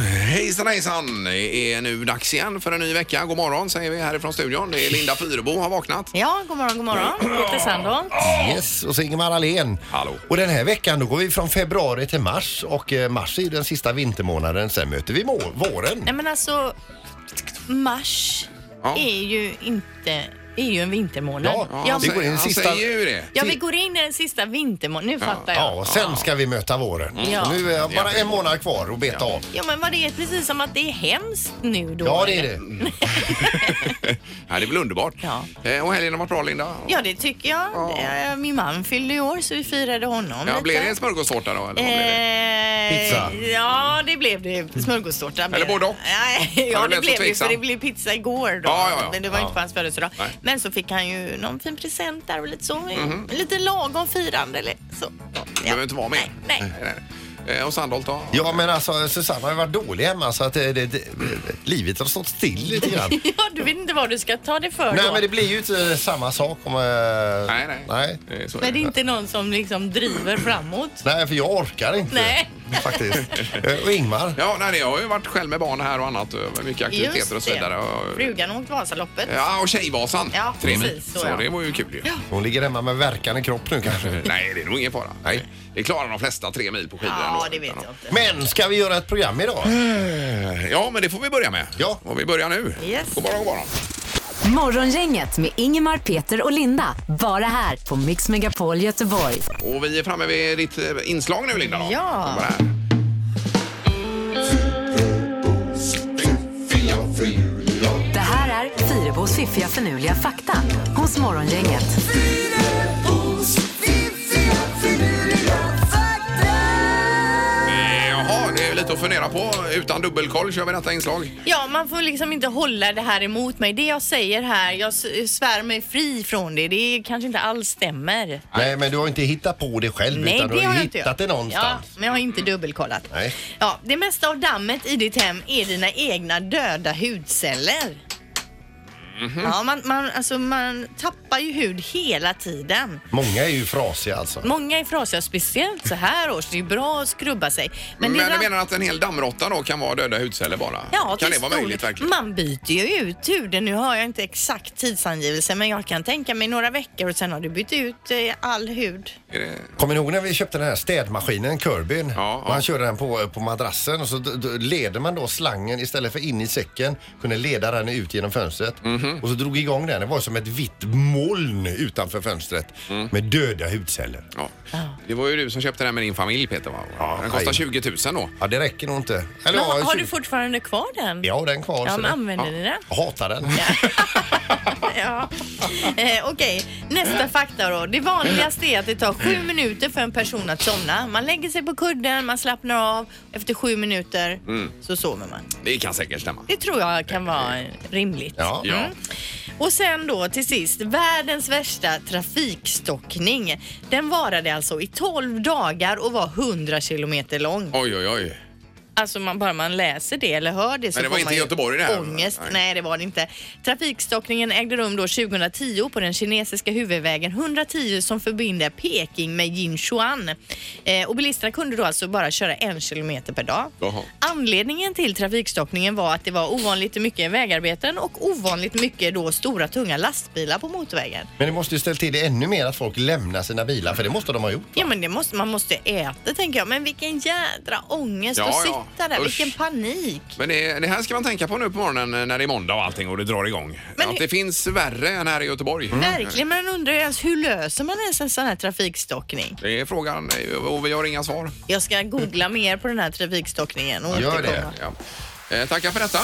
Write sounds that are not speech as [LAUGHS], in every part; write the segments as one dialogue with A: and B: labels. A: Hejsan hejsan! Det är nu dags igen för en ny vecka. God morgon säger vi härifrån studion. Det är
B: [LAUGHS]
A: Linda Fyrebo har vaknat.
B: Ja, god morgon, god
C: [CLEARS THROAT]
B: morgon. Peter Sandholt.
C: Yes, och så Ingemar Ahlén.
A: Hallå.
C: Och den här veckan då går vi från februari till mars och eh, mars är ju den sista vintermånaden. Sen möter vi må- våren.
B: Nej men alltså, mars
A: Ja.
B: är ju inte, är ju en vintermånad.
C: Ja,
A: Ja,
B: Ja,
A: han,
C: det
B: men-
C: går
A: säger,
C: in
A: han
C: sista-
A: säger ju det.
B: ja, vi går in i den sista vintermånaden. Nu fattar jag.
C: Ja, och sen ska vi möta våren.
B: Ja.
C: Så Nu är det bara en månad kvar att beta av.
B: Ja, men vad det är precis som att det är hemskt nu då.
C: Ja, det är
B: eller?
C: det.
A: Ja, det är väl underbart.
B: Ja.
A: Eh, Och helgen har varit bra Linda.
B: Ja, det tycker jag. Eh, Min man fyllde i år så vi firade honom
A: Ja,
B: lite.
A: blir det en smörgåstårta då? Eller vad blir det? Mm.
B: Eh,
C: Pizza.
B: Ja, det blev det. Smörgåstårta. blev
A: Eller
B: det.
A: både och.
B: Nej,
A: Ja, det
B: ja, det
A: lät så
B: blev det.
A: tveksam.
B: För det blev pizza igår då.
A: Ja, ja, ja.
B: Men det var inte på hans födelsedag.
A: Nej. Mhm.
B: Men så fick han ju någon fin present där och lite så. Lite lagom firande eller så. Ja.
A: Det behöver inte vara mer.
B: Nej, nej.
A: nej. Eh, Och Sandholt då?
C: Ja, men alltså Susanna har ju varit dålig hemma så att eh, det, det, det, livet har stått still lite grann.
B: [LAUGHS] Ja, du vet inte vad du ska ta det för
C: Nej,
B: då.
C: men det blir ju inte samma sak om... eh,
A: Nej, nej.
C: nej.
A: Eh, Så
B: Men det är
A: det.
B: inte någon som liksom driver framåt.
C: Nej, för jag orkar inte.
B: Nej.
C: Faktiskt.
B: [LAUGHS]
C: Eh, Och Ingmar.
A: Ja, nej, jag har ju varit själv med barn här och annat. eh, Mycket aktiviteter och så vidare. Och-
B: Frugan har åkt Vasaloppet.
A: Ja, och Tjejvasan.
B: Ja,
A: Tre
B: precis,
A: mil.
B: så
A: Så
B: ja.
A: det var ju kul ju. Eh,
C: Hon ligger hemma med verkande kropp nu kanske.
A: Nej, det är nog ingen fara.
C: Nej.
A: Det klarar de flesta tre mil på skidor ändå.
B: Ja, det vet jag inte.
C: Men ska vi göra ett
B: [GASPS]
C: program idag?
A: Ja, men det får vi börja med.
C: Ja.
A: Och vi börjar nu.
B: Yes.
A: God morgon, god morgon.
D: Morgongänget med Ingemar, Peter och Linda. Bara här på Mix Megapol Göteborg.
A: Och vi är framme vid ditt eh, inslag nu, Linda. då.
B: Ja.
A: Bara här.
D: Det här är Fyrabos fiffiga förnuliga fakta hos Morgongänget.
A: Eh, Jaha, det är lite att fundera på. Utan dubbelkoll kör vi detta inslag.
B: Ja, man får liksom inte hålla det här emot mig. Det jag säger här, jag s- svär mig fri från det. Det kanske inte alls stämmer.
C: Nej, men du har inte hittat på det själv utan du har ju hittat det någonstans.
B: Ja, men jag har inte dubbelkollat.
C: Nej.
B: Ja, det mesta av dammet i ditt hem är dina egna döda hudceller.
C: Mhm.
B: Ja, man, man, alltså, man tappar ju hud hela tiden.
C: Många är ju frasiga alltså.
B: Många är frasiga, speciellt så här års. Det är bra att skrubba sig.
C: Mm,
A: Men,
B: det
A: du
B: ram-
A: menar att en hel dammråtta då kan vara döda hudceller bara?
B: Ja,
A: kan
B: till
A: det vara
B: stor-
A: möjligt verkligen?
B: Man byter ju ut huden. Nu har jag inte exakt tidsangivelse men jag kan tänka mig några veckor och sen har du bytt ut eh, all hud.
A: Är det...
C: Kommer ni ihåg när vi köpte den här städmaskinen, Kirbyn?
A: Ja, ja.
C: Man körde den på, på madrassen och så d- d- leder man då slangen istället för in i säcken kunde leda den ut genom fönstret.
A: Mhm.
C: Och så drog igång den. Det var som ett vitt moln utanför fönstret
A: Mm.
C: med döda hudceller.
A: Ja. Det var ju du som köpte den med din familj Peter va?
C: Ja,
A: den kostar
C: aj.
A: 20 000 då.
C: Ja, det räcker nog inte. Eller,
B: Men, har,
C: ja,
B: har
C: tjugo-
B: du fortfarande kvar den?
C: Ja, den kvar.
B: Ja,
C: så
B: men
C: den-
B: använder ni den?
C: Jag hatar den.
B: Ja. [LAUGHS] Eh, Okej, nästa fakta då. Det vanligaste är att det tar sju minuter för en person att somna. Man lägger sig på kudden, man slappnar av. Efter sju minuter
A: Mm.
B: så sover man.
A: Det kan säkert stämma. Mm.
B: Det tror jag kan vara eh, rimligt.
C: Ja.
A: Ja.
B: Och sen då till sist, världens värsta trafikstockning. Den varade alltså i 12 dagar och var 100 kilometer lång.
A: Oj, oj, oj.
B: Alltså man, bara man läser det eller hör det så
A: Men det var
B: får
A: inte
B: man
A: i
B: ju
A: Göteborg det här?
B: ångest.
A: Nej.
B: Nej. det var det inte. Trafikstockningen ägde rum då 2010 på den kinesiska huvudvägen 110 som förbinder Peking med Jinshuan. Eh, och bilisterna kunde då alltså bara köra en kilometer per dag.
A: Jaha.
B: Anledningen till trafikstockningen var att det var ovanligt mycket vägarbeten och ovanligt mycket då stora tunga lastbilar på motorvägen.
C: Men det måste ju ställa till det ännu mer att folk lämnar sina bilar för det måste de ha gjort.
B: Ja men det måste, man måste äta tänker jag. Men vilken jädra ångest
A: Ja,
B: att
A: ja.
B: sitta där.
A: Usch.
B: Vilken panik.
A: Men det, det här ska man tänka på nu på morgonen när det är måndag och allting och det drar igång.
B: Men
A: att
B: hur-
A: det finns värre än här i Göteborg.
B: Verkligen, men man undrar ju ens hur löser man ens en sån här trafikstockning?
A: Det är frågan eh, och vi har inga svar.
B: Jag ska googla mer på den här trafikstockningen och
C: Gör det.
B: återkomma.
A: Ja. Eh, tackar för detta.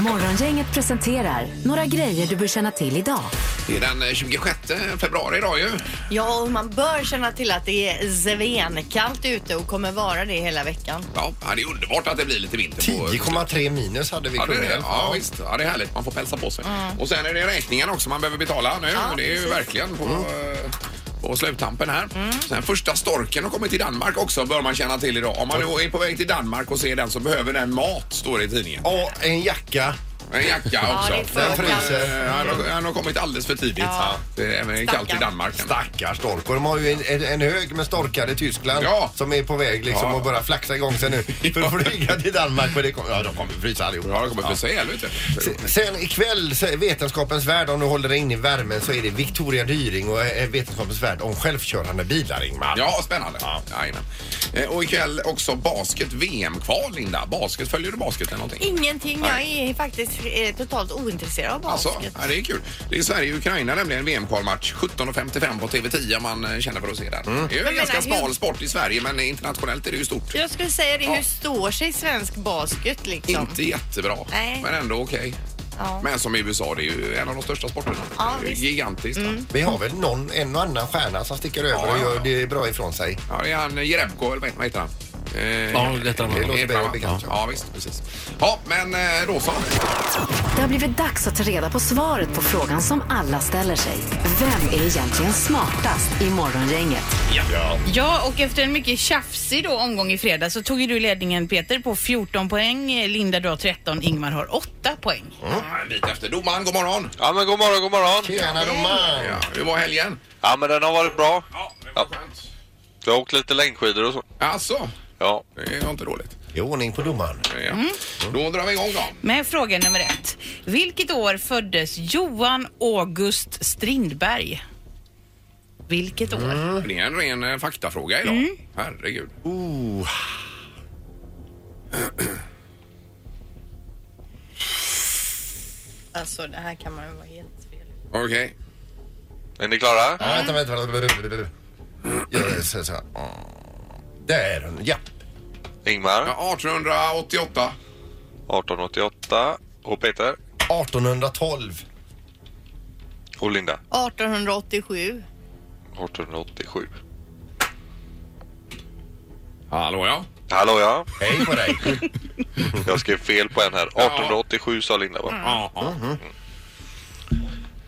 D: Morgongänget presenterar några grejer du bör känna till idag.
A: Det är den eh, 26 februari idag ju.
B: Ja, och man bör känna till att det är svenkallt ute och kommer vara det hela veckan.
A: Ja, ja, det är underbart att det blir lite vinter på...
C: 10,3 minus hade vi
A: Ja, det är det.
C: Kungälv.
A: Ja, visst. Ja, det är härligt. Man får pälsa på sig. Och sen är det räkningarna också man behöver betala nu.
B: Ja,
A: och det är ju
B: precis.
A: verkligen på, eh, på sluttampen här. Sen första storken har kommit till Danmark också bör man känna till idag. Om man nu är på väg till Danmark och ser den så behöver den mat, står det i tidningen.
C: Ja, en jacka
A: En jacka också.
E: det är för
A: Den fryser.
C: kallt.
A: Han har, han har kommit alldeles för tidigt.
E: Ja.
A: Det är även kallt i
E: Stackarn.
A: Danmark.
C: Stackars stork. Och de har ju en, en, en hög med storkar i Tyskland
A: Ja.
C: som är på väg liksom
A: Ja.
C: att börja flaxa
A: [LAUGHS]
C: igång sig nu för att flyga till Danmark. Men det kommer, ja, de kommer frysa allihop.
A: Ja, det kommer frysa ihjäl vet du.
C: Se- Sen ikväll, så är Vetenskapens värld, om du håller dig inne i värmen så är det Victoria Dyring och eh, Vetenskapens värld om självkörande bilar, Ingmar.
A: Ja, spännande. Jajamän. Eh, Och ikväll också basket-VM-kval, Linda. Basket, följer du basket eller någonting?
E: Ingenting. Jag är faktiskt eh, totalt ointresserad av
A: Alltså,
E: basket.
A: ja, det är kul. Det är Sverige-Ukraina nämligen VM-kvalmatch 17.55 på TV10 om man eh, känner för att se den. Det är ju en
E: Men
A: ganska
E: menar, hur-
A: smal sport i Sverige men internationellt är det ju stort.
E: Jag skulle säga det, hur står sig svensk basket liksom?
A: Inte jättebra,
E: Nej.
A: men ändå okej.
E: Ja.
A: Men som i USA, det är ju en av de största sporterna.
E: Ja,
A: Det är ju
E: visst. Mm.
A: Gigantiskt. va?
C: Vi har väl någon, en och annan stjärna som sticker över
A: Ja,
C: och
A: ja,
C: gör
A: ja.
C: det bra ifrån sig.
A: Ja, det är han eh, Jerebko, eller vad- vad heter han? Eh,
F: Ja, det heter han.
A: Edman,
C: Det låter
A: va?
C: bekant,
A: ja.
C: ja.
A: ja, visst. Precis. Ja, men eh, då så.
D: Det har blivit dags att ta reda på svaret på frågan som alla ställer sig. Vem är egentligen smartast i Morgongänget?
B: Ja, och efter en mycket tjafsig då omgång i fredag så tog ju du ledningen Peter på 14 poäng. Eh, Linda du har 13, Ingmar har 8 poäng.
A: En bit efter. Domaren, god morgon.
G: Ja men god morgon, god morgon.
C: Tjena domaren!
A: Ja, hur var helgen?
G: Ja men den har varit bra.
A: Ja, det
G: var
A: skönt.
G: Jag har åkt lite längdskidor och så.
A: Alltså,
G: Ja.
A: det var inte dåligt.
C: Det är ordning på domaren.
A: Ja.
B: Mm.
A: Då drar vi igång då.
B: Med fråga nummer ett. Vilket år föddes Johan August Strindberg? Vilket år?
A: Det är en ren eh, faktafråga idag.
B: Mm.
A: Herregud.
E: Alltså det här kan man ju vara helt fel.
A: Okej.
G: Är ni klara?
C: Ja, vänta, vänta. vänta. Ja, så, så. Mm. Där är hon. Ja.
G: Ingmar,
A: Ja, 1888.
G: 1888. Och Peter.
C: 1812.
G: Och Linda,
E: 1887.
G: 1887.
A: Hallå ja.
G: Hallå ja,
C: Hej på
A: [LAUGHS]
C: dig.
G: jag skrev fel på en här. 1887 sa Linda va?
A: Ja, ja.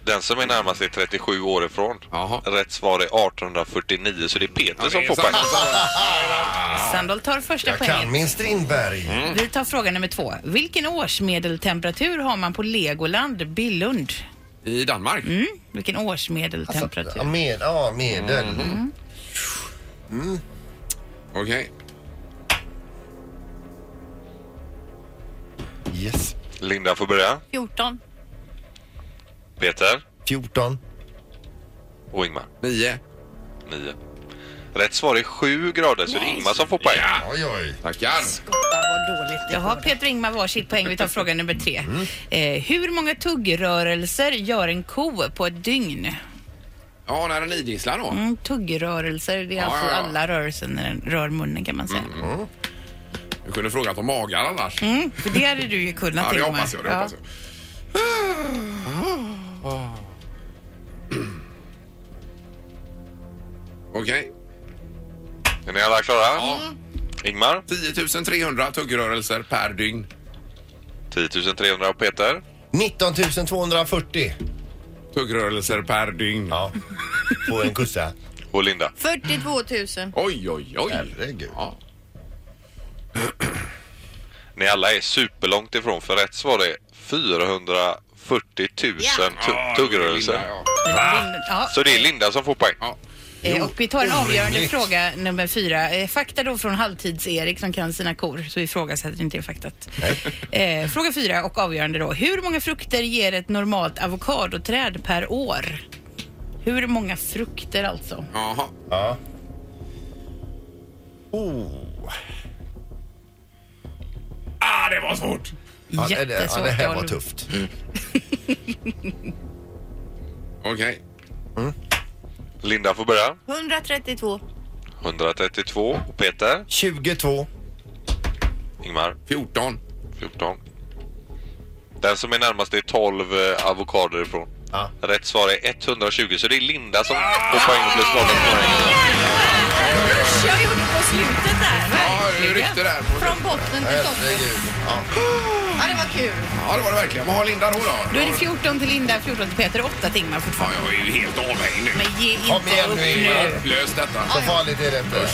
G: Den som är närmast är 37 år ifrån.
A: Jaha.
G: Rätt svar är 1849 så det är Peter som
A: det är
G: får
A: sant.
G: poäng.
B: Sandal tar första
C: Jag
B: poängen.
C: kan min Strindberg.
A: Mm,
B: Vi tar fråga nummer två. Vilken årsmedeltemperatur har man på Legoland Billund?
A: I Danmark?
B: Mm? Vilken årsmedeltemperatur?
C: Ja, Med, ja, medel.
A: Mm. Okej.
C: Yes.
G: Linda får börja.
E: 14.
G: Peter
C: 14.
G: och Ingmar.
A: Nio.
G: 9. Rätt svar är 7 grader så det är Ingmar som får poäng.
C: Oj, oj.
A: Tackar.
B: Jag har Peter och Ingmar varsitt poäng. Vi tar fråga nummer tre.
C: Mm.
B: Eh, hur många tuggrörelser gör en ko på ett dygn?
A: Ja, när den idisslar då.
B: Mm, tuggrörelser, det är
A: Ja,
B: alltså
A: ja, ja.
B: alla rörelser när den rör munnen kan man säga.
A: Du kunde frågat om magar annars.
B: Mm, för det hade du ju kunnat
A: Ja, det
B: Ingmar.
A: hoppas jag. Det
B: Ja.
A: hoppas jag. [CLEARS THROAT] Okej.
G: Är ni alla klara?
A: Ja.
G: Ingmar
A: 10 300 tuggrörelser per dygn.
G: 10 300 och Peter
C: 19 240.
A: Tuggrörelser per dygn.
C: Ja. På en kussa.
G: och Linda.
E: 42 000.
A: Oj, oj, oj.
C: Herregud.
A: Ja.
G: Ni alla är superlångt ifrån för rätt svar är 440 000
A: Ja,
G: tu-
A: Linda,
G: tuggrörelser.
A: ja.
B: Linda- Ja.
G: Så det är Linda som får poäng.
A: Ja.
B: Eh, Och vi tar en avgörande
C: Orimligt.
B: fråga nummer fyra. Eh, Fakta då från Halvtids-Erik som kan sina kor, så vi ifrågasätter inte det faktat. Eh, fråga fyra och avgörande då. Hur många frukter ger ett normalt avokadoträd per år? Hur många frukter alltså?
A: Jaha.
C: Ja. Oh.
A: Ah, det var svårt.
C: Ja, det, det, ja,
B: Jättesvårt.
C: det här var
B: Oliver.
C: tufft.
A: Okej.
G: Mm. Linda får börja.
E: 132.
G: 132 och Peter.
C: 22.
G: Ingmar
A: 14.
G: 14. Den som är närmast är 12 eh, avokader ifrån.
C: Ja.
G: Rätt svar är 120 så det är Linda som får poäng och plus noll.
B: Jag gjorde på slutet där.
A: Ja, det
B: Verkligen.
A: ryckte där. På.
E: Från botten till toppen.
C: Herregud. Ja.
E: Ja, det var kul.
A: Ja, det var det verkligen. Vad har Linda då?
B: Då
A: då?
B: är det 14 till Linda, 14 till Peter, 8 till Ingmar
A: Ja,
B: fortfarande.
A: jag är ju helt avhängig nu.
B: Men ge
C: Kom
B: inte
C: igen
B: upp
C: nu,
B: nu.
C: Ingmar.
A: Lös detta.
C: Så farligt är det inte.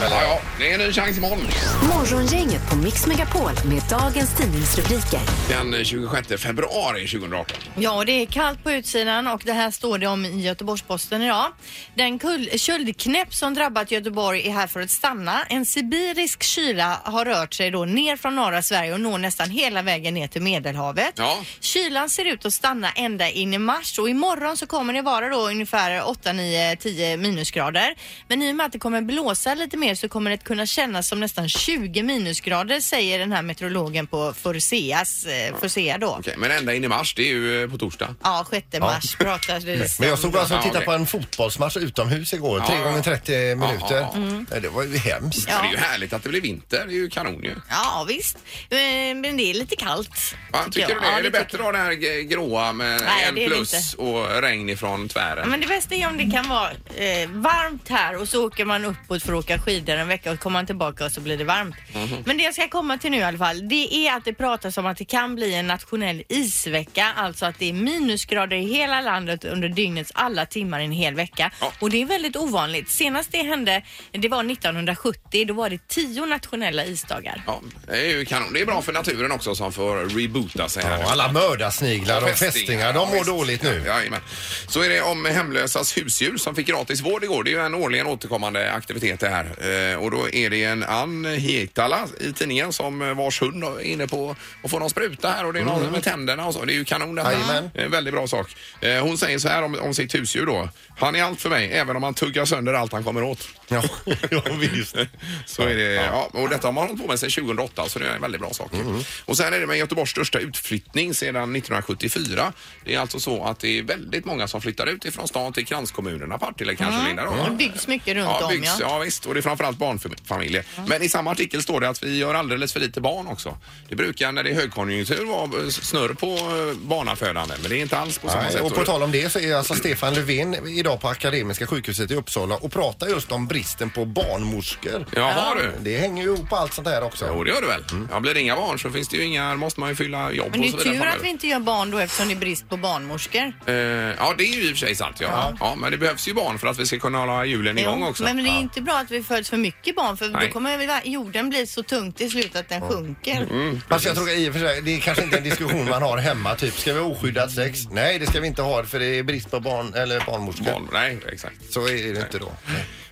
A: Ja, ja, det är en ny chans imorgon.
D: Morgongänget på Mix Megapol med dagens tidningsrubriker.
A: Den 26 februari 2018.
B: Ja, det är kallt på utsidan och det här står det om i Göteborgs-Posten idag. Den kull- köldknäpp som drabbat Göteborg är här för att stanna. En sibirisk kyla har rört sig då ner från norra Sverige och når nästan hela vägen ner till Medelhavet.
A: Ja.
B: Kylan ser ut att stanna ända in i mars och imorgon så kommer det vara då ungefär 8, 9, 10 minusgrader. Men i och med att det kommer blåsa lite mer så kommer det att kunna kännas som nästan 20 minusgrader säger den här meteorologen på Forseas, eh, Forsea då.
A: Okej, men ända in i mars, det är ju eh, på torsdag.
B: Ja, 6 mars pratade vi
C: Men jag stod alltså och
A: Ja,
C: tittade
A: det-
C: på en fotbollsmatch utomhus igår.
A: Ja,
C: 3
A: ja.
C: gånger 30 minuter.
A: ja.
C: Nej, Det var ju hemskt.
A: Men Det är ju härligt att det blir vinter. Det är ju kanon ju.
B: Ja, visst. Eh, Men det är lite kallt.
A: Va, tycker du det?
B: Ja,
A: är det
B: tycker
A: bättre att ha det här g- gråa med
B: Nej,
A: en
B: det är det
A: plus och regn ifrån
B: jag.
A: tvären?
B: Men det bästa är om det kan vara eh, varmt här och så åker man uppåt för att åka skidor en vecka och kommer man tillbaka och så blir det varmt.
A: Mhm.
B: Men det jag ska komma till nu i alla fall, det är att det pratas om att det kan bli en nationell isvecka, alltså att det är minusgrader i hela landet under dygnets alla timmar i en hel vecka.
A: Ja.
B: Och det är väldigt ovanligt. Senast det hände, det var 1970, då var det tio nationella isdagar.
A: Ja, det är ju kanon. Det är bra för naturen också som får reboota sig här nu.
C: Ja, alla mördarsniglar och fästingar, de mår
A: visst.
C: dåligt nu.
A: Ja, jajamän. så är det om hemlösas husdjur som fick gratis vård igår. Det är ju en årligen återkommande aktivitet det här. Eh, och då är det en Ann Hietala i tidningen som eh, vars hund är inne på att få någon spruta här och det är någon med tänderna och så. Det är ju kanon detta.
C: Mm. Jajamän.
A: Eh, väldigt bra sak. Eh, hon säger så här om, om sitt husdjur då. Han är allt för mig, även om han tuggar sönder allt han kommer åt.
C: [LAUGHS] Ja, ja visst.
A: [LAUGHS] Så är det, ja, och detta har man hållit på med sedan 2008 så det är en väldigt bra sak.
C: Mm.
A: Och sen är det med Göteborgs största utflyttning sedan 1974. Det är alltså så att det är väldigt många som flyttar ut ifrån stan till kranskommunerna Partille kanske Linda då?
B: Det byggs mycket runt
A: Ja,
B: om
A: byggs,
B: ja.
A: ja visst, och det är framförallt barnfamiljer.
B: Mm.
A: Men i samma artikel står det att vi gör alldeles för lite barn också. Det brukar när det är högkonjunktur vara eh, snurr på eh, barnafödande men det är inte alls på samma
C: Nej,
A: sätt.
C: Och på tal om det så är alltså Stefan Löfven idag på Akademiska sjukhuset i Uppsala och pratar just om bristen på barnmorskor.
A: Jaha du.
C: Det hänger ju ihop på allt sånt här också.
A: Jo, det gör det väl.
C: Mm.
A: Ja, blir det inga barn så finns det ju inga, måste man ju fylla jobb
B: Men det
A: och så
B: är
A: vidare.
B: tur
A: framöver.
B: att vi inte gör barn då eftersom det är brist på barnmorskor.
A: Eh, ja, det är ju i och för sig sant. Ja. Ja. men det behövs ju barn för att vi ska kunna hålla hjulen igång också.
B: men det är
A: ja.
B: inte bra att vi föds för mycket barn för
A: Nej.
B: då kommer vi- jorden bli så tung till slut att den sjunker.
A: Mm.
B: Mm.
C: Fast jag tror i och för sig, det är kanske inte en diskussion man har hemma. Typ, ska vi ha oskyddat sex? Nej, det ska vi inte ha för det är brist på barn eller barnmorskor.
A: Barn, nej, exakt.
C: Så är det inte då.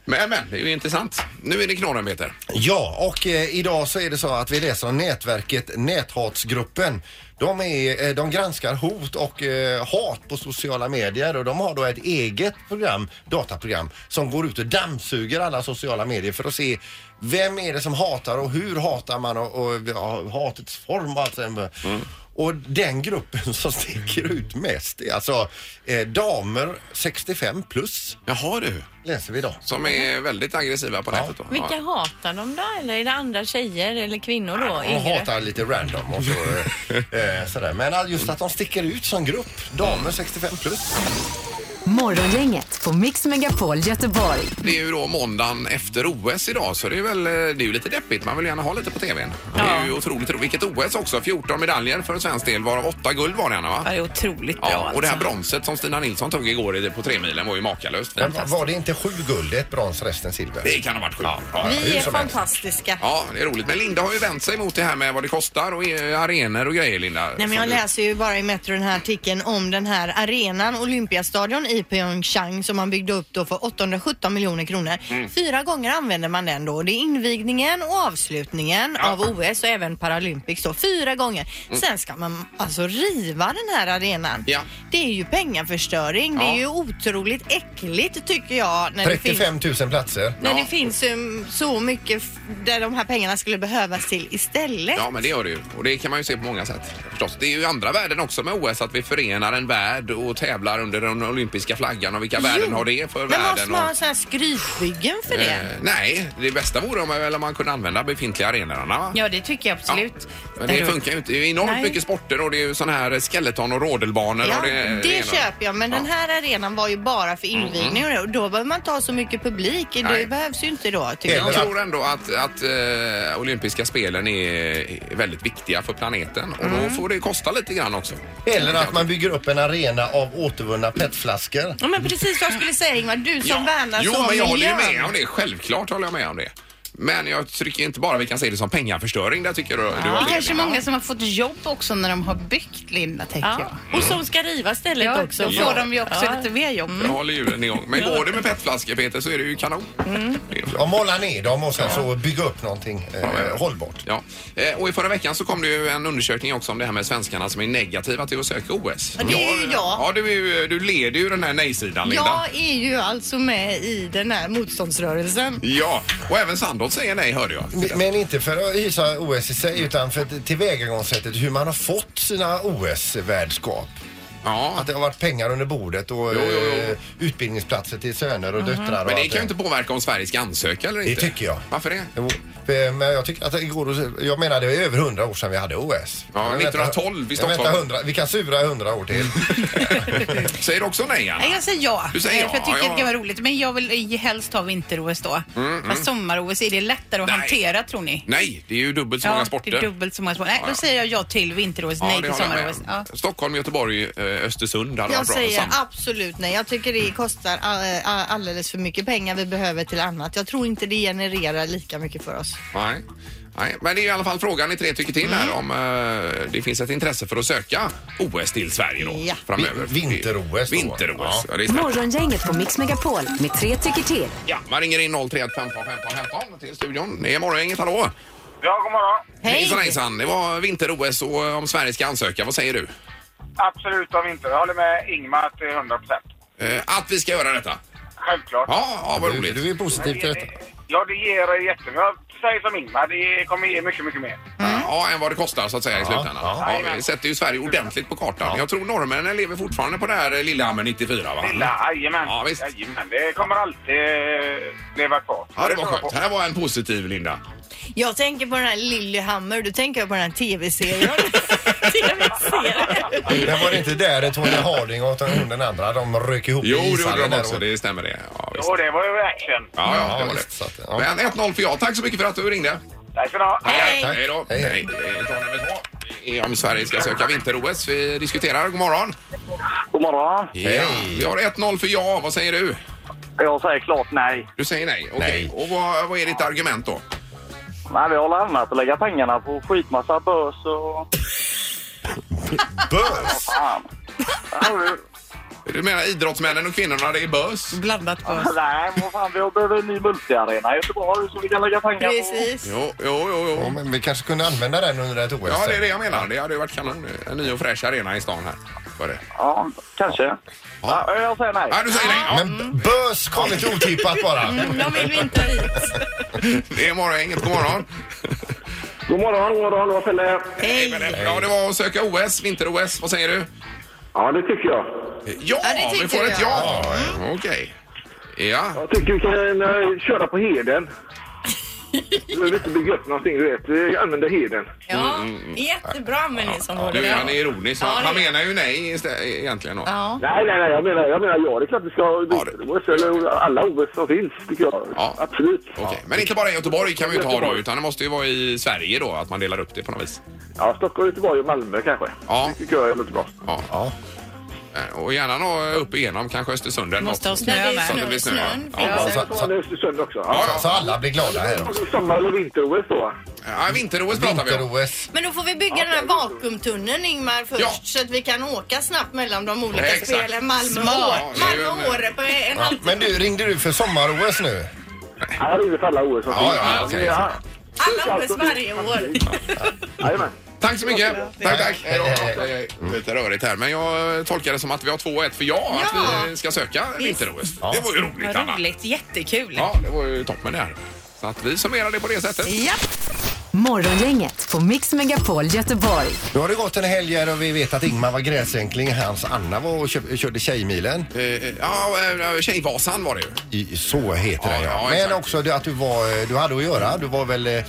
A: Men, men det är ju intressant. Nu är det knorren, Peter.
C: Ja, och eh, idag så är det så att vi läser om nätverket Näthatsgruppen. De, är, eh, de granskar hot och eh, hat på sociala medier och de har då ett eget program, dataprogram, som går ut och dammsuger alla sociala medier för att se vem är det som hatar och hur hatar man och, och ja, hatets form och allt sånt. där. Och den gruppen [LAUGHS] som sticker ut mest är alltså eh, damer 65 plus,
A: Jaha du.
C: läser vi idag.
A: Som är väldigt aggressiva på nätet. Då.
B: Vilka
A: Ja.
B: hatar de då? Eller är det andra tjejer eller kvinnor då?
C: De
B: Yngre?
C: hatar lite random
A: [LAUGHS]
C: och så, eh, eh, sådär. Men all- just att de sticker ut som grupp. Damer 65 plus.
D: Morgongänget på Mix Megapol Göteborg.
A: Det är ju då måndagen efter OS idag så det är väl eh, det är ju lite deppigt. Man vill gärna ha lite på TVn. Det är ju otroligt roligt. Vilket OS också. 14 medaljer för svensk del varav 8 guld var det Anna va?
H: Ja, det är otroligt bra
A: Ja, och det här
H: alltså.
A: bronset som Stina Nilsson tog igår i- på tremilen var ju makalöst
C: Men
A: fint.
C: var det inte sju guld, ett brons, resten silver?
A: Det kan ha varit sjukt. Ja.
C: hur
B: Vi är
C: som helst.
B: fantastiska.
A: Ja, det är roligt. Men Linda har ju vänt sig mot det här med vad det kostar och eh, arenor och grejer, Linda.
B: Nej, men jag
A: Som du-
B: läser ju bara i Metro den här artikeln om den här arenan, Olympiastadion i Pyeongchang som man byggde upp då för 817 miljoner kronor.
A: Mm.
B: Fyra gånger använder man den då. Det är invigningen och avslutningen av OS och även Paralympics då. Fyra gånger. Sen ska man alltså riva den här arenan.
A: Mm. Ja.
B: Det är ju pengaförstöring. Det
A: Ja.
B: är ju otroligt äckligt tycker jag. När det finns-
C: 35 000 platser.
B: när
A: Ja.
B: det finns um, så mycket f- där de här pengarna skulle behövas till istället.
A: Ja, men det gör det ju. Och det kan man ju se på många sätt förstås. Det är ju andra värden också med OS, att vi förenar en värld och tävlar under den olympiska flaggan och vilka värden har det för
B: men måste
A: världen?
B: man ha
A: Och...
B: sådana här skrytbyggen för det?
A: Eh, nej, det bästa vore om, väl om man kunde använda befintliga arenorna. Va?
H: Ja, det tycker jag absolut.
A: Men det funkar ju inte. Det är enormt
H: Nej.
A: mycket sporter och det är ju sån här skeleton och rodelbanor.
B: Ja,
A: och
B: det, köper jag, men den här arenan var ju bara för invigning och det- och då behöver man inte ha så mycket publik.
A: Mhm. Nej. Eh.
B: Det behövs ju inte då, tycker jag.
A: Jag tror ändå att, att eh, olympiska spelen är väldigt viktiga för planeten och då
B: Mm.
A: får det kosta lite grann också.
C: Eller att man bygger upp en arena av återvunna petflaskor.
B: Ja, men precis vad jag skulle säga Ingvar, du som värnar
A: jo,
B: så om
A: men jag håller ju
B: miljön.
A: med om det. Självklart håller jag med om det. Men jag tycker inte bara vi kan se det som pengaförstöring. Där tycker jag du, du
H: Det
A: har
H: är kanske
A: fel.
H: många som har fått jobb också när de har byggt Linda, tänker
B: Ja.
H: jag.
B: Och som ska riva stället
H: Ja,
B: också.
H: då får de ju också lite mer jobb.
A: Jag håller hjulen igång. Men går det med petflaskor Peter så är det ju kanon.
C: Ja, måla ner dem och sen så bygga upp någonting eh, hållbart.
A: Ja. Eh, Och i förra veckan så kom det ju en undersökning också om det här med svenskarna som är negativa till att söka OS.
B: Ja, det är ju jag.
A: Ja, du, är ju- du leder ju den här nej-sidan Linda.
B: Jag är ju alltså med i den här motståndsrörelsen.
A: Ja, och även Sandholt säger nej hörde jag.
C: Men- Men inte för att hysa OS i sig utan för t- tillvägagångssättet hur man har fått sina OS-värdskap.
A: Ja,
C: Att det har varit pengar under bordet och
A: Jo, jo, jo.
C: eh, utbildningsplatser till söner och döttrar.
A: men
C: Och
A: det
C: allt
A: kan ju inte påverka om Sverige ska ansöka eller
C: Det
A: inte.
C: tycker jag.
A: Varför det?
C: Jo, eh, Men jag tycker att det går att- Jag menar det är över 100 år sedan vi hade OS.
A: Ja,
C: Men
A: 1912 i
C: vänta,
A: Stockholm.
C: vänta 100, vi kan sura 100 år till.
A: Säger du också nej
H: Nej,
A: Anna?
H: jag säger ja.
A: Du säger
H: Eh,
A: ja,
H: För jag
A: ja.
H: tycker
A: Mm,
H: att det var roligt. Men jag vill ju helst ha vinter-OS då. Fast sommar-OS, är det lättare att
A: Nej.
H: hantera tror ni?
A: Nej, det är ju dubbelt så många sporter.
H: det är dubbelt så många sporter. Nej,
A: Ja, ja.
H: då säger jag ja till vinter-OS,
A: det
H: nej till
A: håller jag
H: sommar-OS.
A: med
H: Ja.
A: om. Stockholm, Göteborg, eh, Östersund hade
B: Jag
A: varit bra.
B: säger
A: Sam-
B: absolut nej. Jag tycker det kostar eh, alldeles för mycket pengar vi behöver till annat. Jag tror inte det genererar lika mycket för oss.
A: Nej. Nej, men det är ju i alla fall frågan ni tre tycker till här
B: Mm.
A: om eh, det finns ett intresse för att söka OS till Sverige då
B: Ja.
A: framöver.
C: Vi- vinter-OS då.
A: Vinter-OS, ja. det är snällt.
D: Morgongänget på Mix Megapol med tre tycker till.
A: Ja, man ringer in 031 15 15 15 till studion. Det är morgongänget, hallå!
I: Ja, god morgon.
B: Hej!
A: Hejsan hejsan, det var vinter-OS och eh, om Sverige ska ansöka, vad säger du?
I: Absolut om inte. Jag håller med Ingmar till 100 procent.
A: Eh, att vi ska göra detta?
I: Självklart.
A: Ja, ja vad
C: Du,
A: roligt.
C: du är positiv till detta.
I: Ja, det ger jättemycket. Jag säger som Ingmar, det kommer ge mycket, mycket mer.
A: Ja, än vad det kostar så att säga i slutändan. Ja,
I: ja.
A: vi sätter ju Sverige ordentligt på kartan. Jag tror norrmännen lever fortfarande på det här eh, Lillehammer 94 va?
I: Lilla, jajamän.
A: Ja, visst.
I: Jajamän, det kommer alltid eh, leva kvar.
A: Ja, det var
I: tror jag
A: skönt.
I: på.
A: Här var en positiv Linda.
B: Jag tänker på den här Lillehammer, då tänker jag på den här tv-serien.
A: [LAUGHS]
B: TV-serien.
C: Men var det inte där det Tony Harding och hon den andra, de rök ihop i
A: Jo, det
C: ishallen
A: gjorde de
C: där
A: också.
C: och-
A: Det stämmer det. Ja, visst.
I: Jo, det var ju action.
A: Ja, ja,
C: Ja,
A: det var
C: visst, så
A: det.
C: att- ja.
A: Men 1-0 för ja. Tack så mycket för att du ringde.
I: Tack ska ni ha.
B: Hej.
A: Tack. Hej då.
C: Hej, hej.
A: Hej. Eh, tar nummer två. Det är Om Sverige ska söka vinter-OS. Vi diskuterar. God morgon.
I: God morgon.
A: Ja, vi har 1-0 för ja. Vad säger du?
I: Jag säger klart nej.
A: Du säger nej. Okej.
C: Nej.
A: Och vad, vad är ditt argument då?
I: Nej, vi håller annat att lägga pengarna på skitmassa börs och...
C: Bös!
I: Fan.
A: [LAUGHS]
I: Ja, vi-
A: Du menar idrottsmännen och kvinnorna, det är bös?
H: Blandat på oss.
I: Nej, vad fan, vi behöver en ny multiarena i Göteborg så vi kan lägga pengar
B: Precis.
A: Jo, jo, jo.
C: Ja,
A: jo.
C: men vi kanske kunde använda den under ett OS.
A: Ja, det är det jag menar. Det hade ju varit kanon. En ny och fräsch arena i stan här. Var det?
I: Ja, kanske.
A: Ja.
I: Ja, jag säger nej.
A: Ja, du säger nej. Ja.
C: Men bös kom lite otippat bara.
B: De vill vi inte ha hit.
A: Det är morgongänget. God morgon.
I: God morgon, god morgon, det var Pelle.
A: Hej. men det- Ja, det var att söka OS, vinter-OS. Vad säger du?
I: Ja, det tycker jag.
A: Ja,
B: Ja, det tycker
A: vi får ett
B: jag.
A: ja. Mm. Okej. Ja,
I: Jag tycker vi kan eh, köra på heden. Du behöver inte bygga upp någonting, du vet. Vi använder heden.
H: Mm,
B: Ja, jättebra användningsområde.
A: du, han är ironisk.
B: Ja,
A: Han,
B: det-
A: han menar ju nej istä- egentligen. Då.
B: Ja.
I: Nej, nej, nej, jag menar, jag menar ja, det är klart vi ska ha
A: det-
I: OS, eller alla OS som finns, tycker jag.
A: Ja.
I: Absolut.
A: Okej, Men inte bara i Göteborg kan vi ju inte ha då, utan det måste ju vara i Sverige då, att man delar upp det på något vis.
I: Ja, Stockholm, Göteborg och Malmö kanske.
A: Ja.
I: Det tycker jag är lite bra.
A: Ja.
C: Ja.
A: Eh, Och gärna nå upp igenom kanske Östersund eller
H: Måste ha
A: något.
H: snö
B: det är
A: Så att
H: med.
A: det blir snö.
B: Snön
A: Ja.
C: Ja, så,
I: Ja, det
C: så,
I: är Östersund också. Ja.
A: Ja,
C: så alla blir glada här också.
I: Sommar eller vinter-OS då? va?
A: ja, vinter-OS pratar vi om.
C: Vinter-OS.
B: Men då får vi bygga den här vakuumtunneln Ingmar först
A: Ja.
B: så att vi kan åka snabbt mellan de
A: Ja,
B: olika
A: exakt.
B: spelen. Malmö
A: Ja,
B: och
A: det är ju
B: Malmö och
A: en-
B: Åre på en
C: Ja,
B: halvtimme.
C: men du, ringde du för sommar-OS nu?
I: Ja, Jag ringer för alla OS som
C: Ja,
I: finns.
C: ja,
A: okej.
I: Ja,
B: Alla OS varje år.
I: Jajamän.
A: Tack så mycket. Tack, tack.
C: Hej, hej,
A: Hej då. Lite rörigt här, men jag tolkar det som att vi har 2-1 för ja, att vi ska söka vinter-OS. Det var ju roligt,
H: Vad
A: Anna.
H: roligt, jättekul.
A: Ja, det var ju toppen det här. Så att vi summerar det på det sättet.
B: Ja.
D: Morgongänget på Mix Megapol Göteborg.
C: Nu har det gått en helg här och vi vet att Ingmar var gräsänkling. Hans Anna var och köp, körde Tjejmilen.
A: Eh, eh, Ja, eh, Tjejvasan var det ju.
C: I, så heter den
A: Ja, ja,
C: ja.
A: exakt.
C: Men också det att du var, eh, du hade att göra. Du var väl, eh,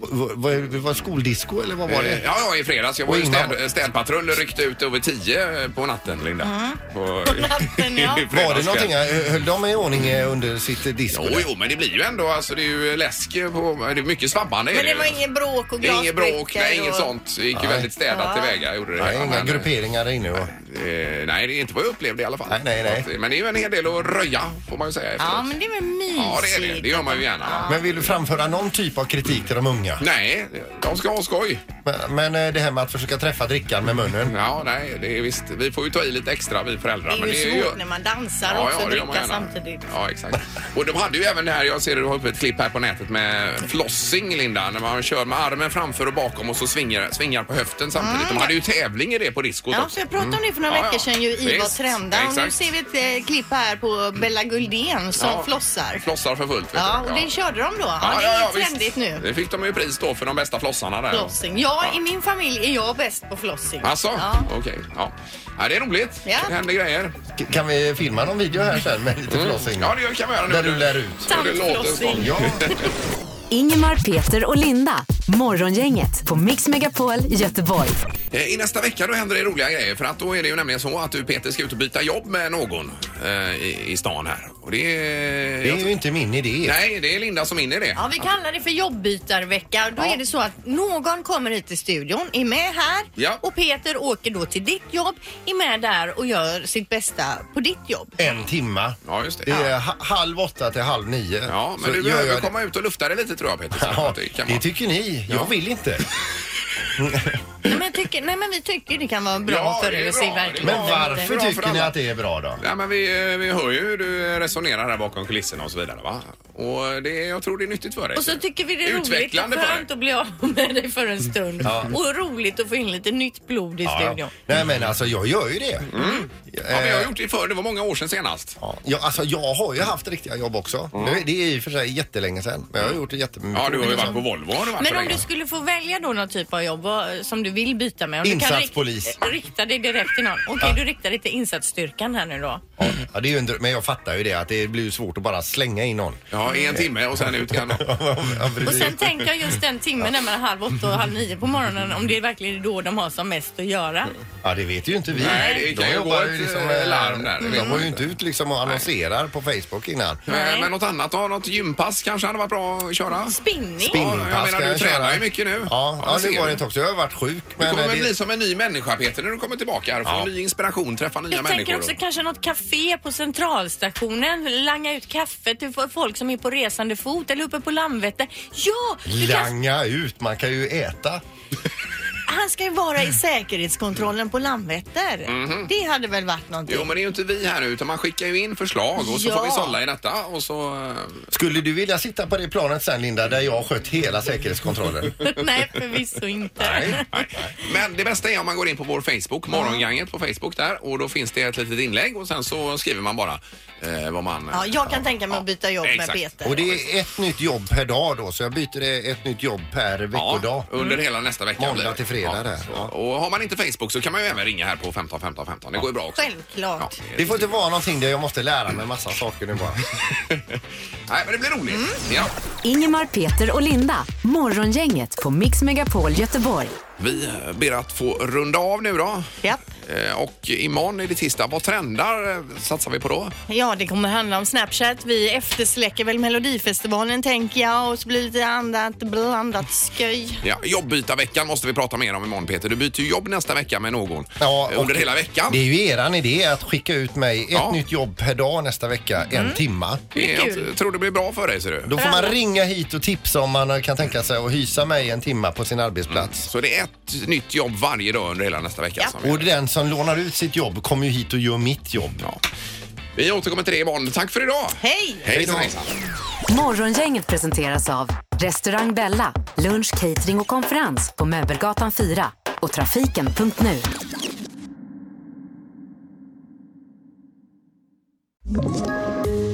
C: var, var, var skoldisco eller vad var
A: Eh,
C: det?
A: Ja, ja, i fredags. Jag var
C: Och
A: ju
C: innan-
A: städ, städpatrull och ryckte ut över tio eh, på natten, Linda. På,
B: Mm. natten,
A: [LAUGHS]
B: ja.
A: i fredags
C: Var det någonting,
A: kväll.
C: eh, höll de i ordning eh, under sitt eh, disco?
A: Jo,
C: där?
A: jo, men det blir ju ändå, alltså det är ju läsk på, det är mycket svabbande. är
B: Men det
A: ju.
B: var inget bråk och
A: Inget
B: glasbrickor.
A: bråk, nej, inget
B: och-
A: sånt. Det gick ju
C: Nej.
A: väldigt städat
B: Ja.
A: tillväga. Gjorde det.
C: Nej,
A: Ja,
C: inga
A: men, eh,
C: grupperingar där inne. Och,
A: eh, nej, det är inte vad jag upplevde i alla fall.
C: Nej, nej, nej.
A: Så att, Men det är ju en hel del att röja, får man ju säga.
B: Ja,
A: efteråt.
B: men det är väl mysigt?
A: ja det är det. Det gör man ju gärna.
C: Men vill du framföra någon typ av kritik till de unga?
A: Nej, de ska ha skoj.
C: Men, men eh, det här med att försöka träffa drickan med munnen.
A: Ja, nej, det är visst. Vi får ju ta i lite extra, vi föräldrar.
B: Det är ju svårt när man dansar och också
A: det gör man
B: dricker
A: gärna.
B: samtidigt.
A: Ja, exakt. Och de hade ju även det här, jag ser det, du har uppe ett klipp här på nätet med flossing, Linda, när man kör med armen framför och bakom och så svingar, svingar på höften samtidigt. De hade ju tävling i det på diskot
B: Mm. Ja,
A: också.
B: så jag pratade om det för några
A: Mm. Ja, ja.
B: veckor sedan ju i Vad
A: Visst,
B: trendar. Och nu
A: exakt.
B: ser vi ett eh, klipp här på Bella Guldén som
A: Ja.
B: flossar.
A: Flossar för fullt. vet
B: Ja,
A: du.
B: och det körde de då. Ja, det
A: ja,
B: är
A: visst.
B: trendigt nu.
A: Det fick de ju pris då för de bästa flossarna där.
B: Flossing. Ja, i min familj är jag bäst på flossing.
A: Alltså,
B: Ja.
A: okej. Ja. ja, det är roligt.
B: Ja.
A: Det händer grejer.
C: K- Kan vi filma någon video här sen med lite flossing?
A: Mm, Ja, det kan vi göra nu.
C: Där du lär ut.
A: Och det låter så.
B: Dansflossing.
C: Ja.
D: Ingemar, Peter och Linda. Morgongänget på Mix Megapol Göteborg.
A: Eh, I nästa vecka då händer det roliga grejer för att då är det ju nämligen så att du Peter ska ut och byta jobb med någon eh, i, i stan här. Och det är...
C: Det är ju inte min idé.
A: Nej, det är Linda som är inne i det.
B: Ja, vi kallar det för jobbbytarvecka. Då
A: Ja.
B: är det så att någon kommer hit till studion, är med här
A: Ja.
B: och Peter åker då till ditt jobb, är med där och gör sitt bästa på ditt jobb.
C: En timma.
A: Ja, just det.
C: Det är ha- halv åtta till halv nio.
A: Ja, men
C: Så
A: du
C: gör
A: behöver
C: jag det.
A: komma ut och lufta dig lite tror jag Peter. Så
C: Ja,
A: att det kan
C: det typ-
A: vara-
C: tycker ni.
A: Ja.
C: Jag vill inte.
B: Nej men, tycker, nej, men vi tycker det kan vara bra
A: Ja,
B: för
A: det är
B: er att
A: bra.
B: se
A: Det är
B: verkligheten
A: bra.
C: Men
B: lite.
A: Det är
C: varför
A: bra för
C: tycker ni
A: alla.
C: att det är bra då?
A: Ja, men vi, eh, vi hör ju hur du resonerar här bakom kulisserna och så vidare va? Och det, jag tror det är nyttigt för dig.
B: Och så tycker vi det är roligt och
A: Utvecklande för
B: skönt
A: dig.
B: att bli av med dig för en stund. Och roligt att få in lite nytt blod i studion.
C: Nej men alltså jag gör ju det.
A: Mm. Ja, men jag har
C: Eh,
A: gjort det förr. Det var många år sedan senast.
C: Ja, jag, alltså jag har ju haft riktiga jobb också. Nu, det är i och för sig jättelänge sedan. Men jag har gjort det jättemycket.
A: Mm. Ja, du har ju varit på Volvo. Har du varit
B: Liksom. Men
A: så
B: om
A: länge.
B: du skulle få välja då någon typ av jobb vad- som du vill byta med. Om Du
C: Insatspolis.
B: kan rik- rikta dig direkt till någon. Okej, du riktar dig till insatsstyrkan här nu då.
C: Ja, Ja, det är ju en dröm. men jag fattar ju det att det blir ju svårt att bara slänga in någon.
A: Ja, i en timme och sen ut igen. då.
C: Ja,
B: Och
C: precis.
B: sen tänker jag just den timmen där mellan halv åtta och halv nio på morgonen om det är verkligen då de har som mest att göra.
C: ja, det vet ju inte vi.
A: Nej, det kan
C: De
A: ju
C: jobbar
A: gå ett, eh,
C: eh,
A: larm där, det vet
C: De
A: man
C: var ju
A: inte.
C: inte ut liksom och annonserar på Facebook innan.
A: Eh,
B: [LAUGHS] Nej.
A: Men något annat då? Något gympass kanske hade varit bra att köra?
B: Spinning?
A: Ja, jag menar,
C: ska
A: du
C: jag
A: tränar
C: köra.
A: ju mycket nu.
C: Ja,
A: Ja,
C: ja,
A: det ser
C: det var
A: vi.
C: det också. Jag har varit sjuk.
A: Du
C: Men
A: kommer
C: eh,
A: väl
C: det-
A: bli som en ny människa Peter när du kommer tillbaka här och får
C: Ja.
A: ny inspiration, träffa nya
B: Jag
A: människor.
B: tänker också kanske något café på centralstationen, langa ut kaffe till f- folk som är på resande fot eller uppe på Landvetter. Ja, du kan,
C: Langa ut, man kan ju äta.
B: han ska ju vara i säkerhetskontrollen på Landvetter. Det hade väl varit någonting.
A: Jo men det är ju inte vi här nu utan man skickar ju in förslag och så
B: Ja.
A: får vi sålla i detta och så... eh,
B: [LAUGHS]
C: Skulle du vilja sitta på det planet sen Linda, där jag har skött hela säkerhetskontrollen?
B: [LAUGHS] Nej, förvisso inte.
A: Nej. Men det bästa är om man går in på vår Facebook, Morgonganget på Facebook där och då finns det ett litet inlägg och sen så skriver man bara eh, vad man...
B: Ja, jag kan tänka mig att byta jobb med
A: exakt.
B: Peter.
C: Och det är ett nytt jobb per dag då, så jag byter det- ett nytt jobb per veckodag.
A: Ja, under hela nästa vecka.
C: Måndag
A: blir det.
C: till fredag
A: Ja,
C: där.
A: så.
C: Ja.
A: Och har man inte Facebook så kan man ju även ringa här på 15 15 15. Det går ju bra också. Ja,
B: Självklart.
C: Det får inte vara någonting där jag måste lära mig massa saker nu bara.
A: Nej, men det blir roligt. Ja.
D: Ingemar, Peter och Linda. Morgongänget på Mix Megapol Göteborg.
A: Vi ber att få runda av nu då.
B: Japp.
A: Eh, Och imorgon är det tisdag. Vad trendar eh, satsar vi på då?
B: Ja, det kommer handla om Snapchat. Vi eftersläcker väl Melodifestivalen tänker jag och så blir det lite annat blandat sköj.
A: Ja, jobbbytarveckan måste vi prata mer om imorgon Peter. Du byter ju jobb nästa vecka med någon.
C: Ja,
A: Eh, Under
C: och
A: hela veckan.
C: Det är ju eran idé att skicka ut mig ett
A: Ja.
C: nytt jobb per dag nästa vecka, en timma.
A: Det är-
B: kul.
A: Eh, Jag tror det blir bra för dig ser du.
C: Då får man ringa hit och tipsa om man kan tänka sig att hysa mig en timma på sin arbetsplats.
A: Så det är ett nytt jobb varje dag under hela nästa vecka. som vi
C: Och
A: gör.
C: den som lånar ut sitt jobb kommer ju hit och gör mitt jobb.
A: Ja. Vi återkommer till det imorgon. Tack för idag!
B: Hej!
A: Hejsan, hejsan!
D: Morgongänget presenteras av Restaurang Bella, lunch, catering och konferens på Möbelgatan 4 och trafiken.nu.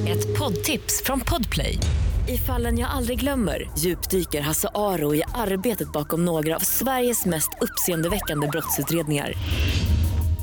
J: Ett poddtips från Podplay. I fallen jag aldrig glömmer djupdyker Hasse Aro i arbetet bakom några av Sveriges mest uppseendeväckande brottsutredningar.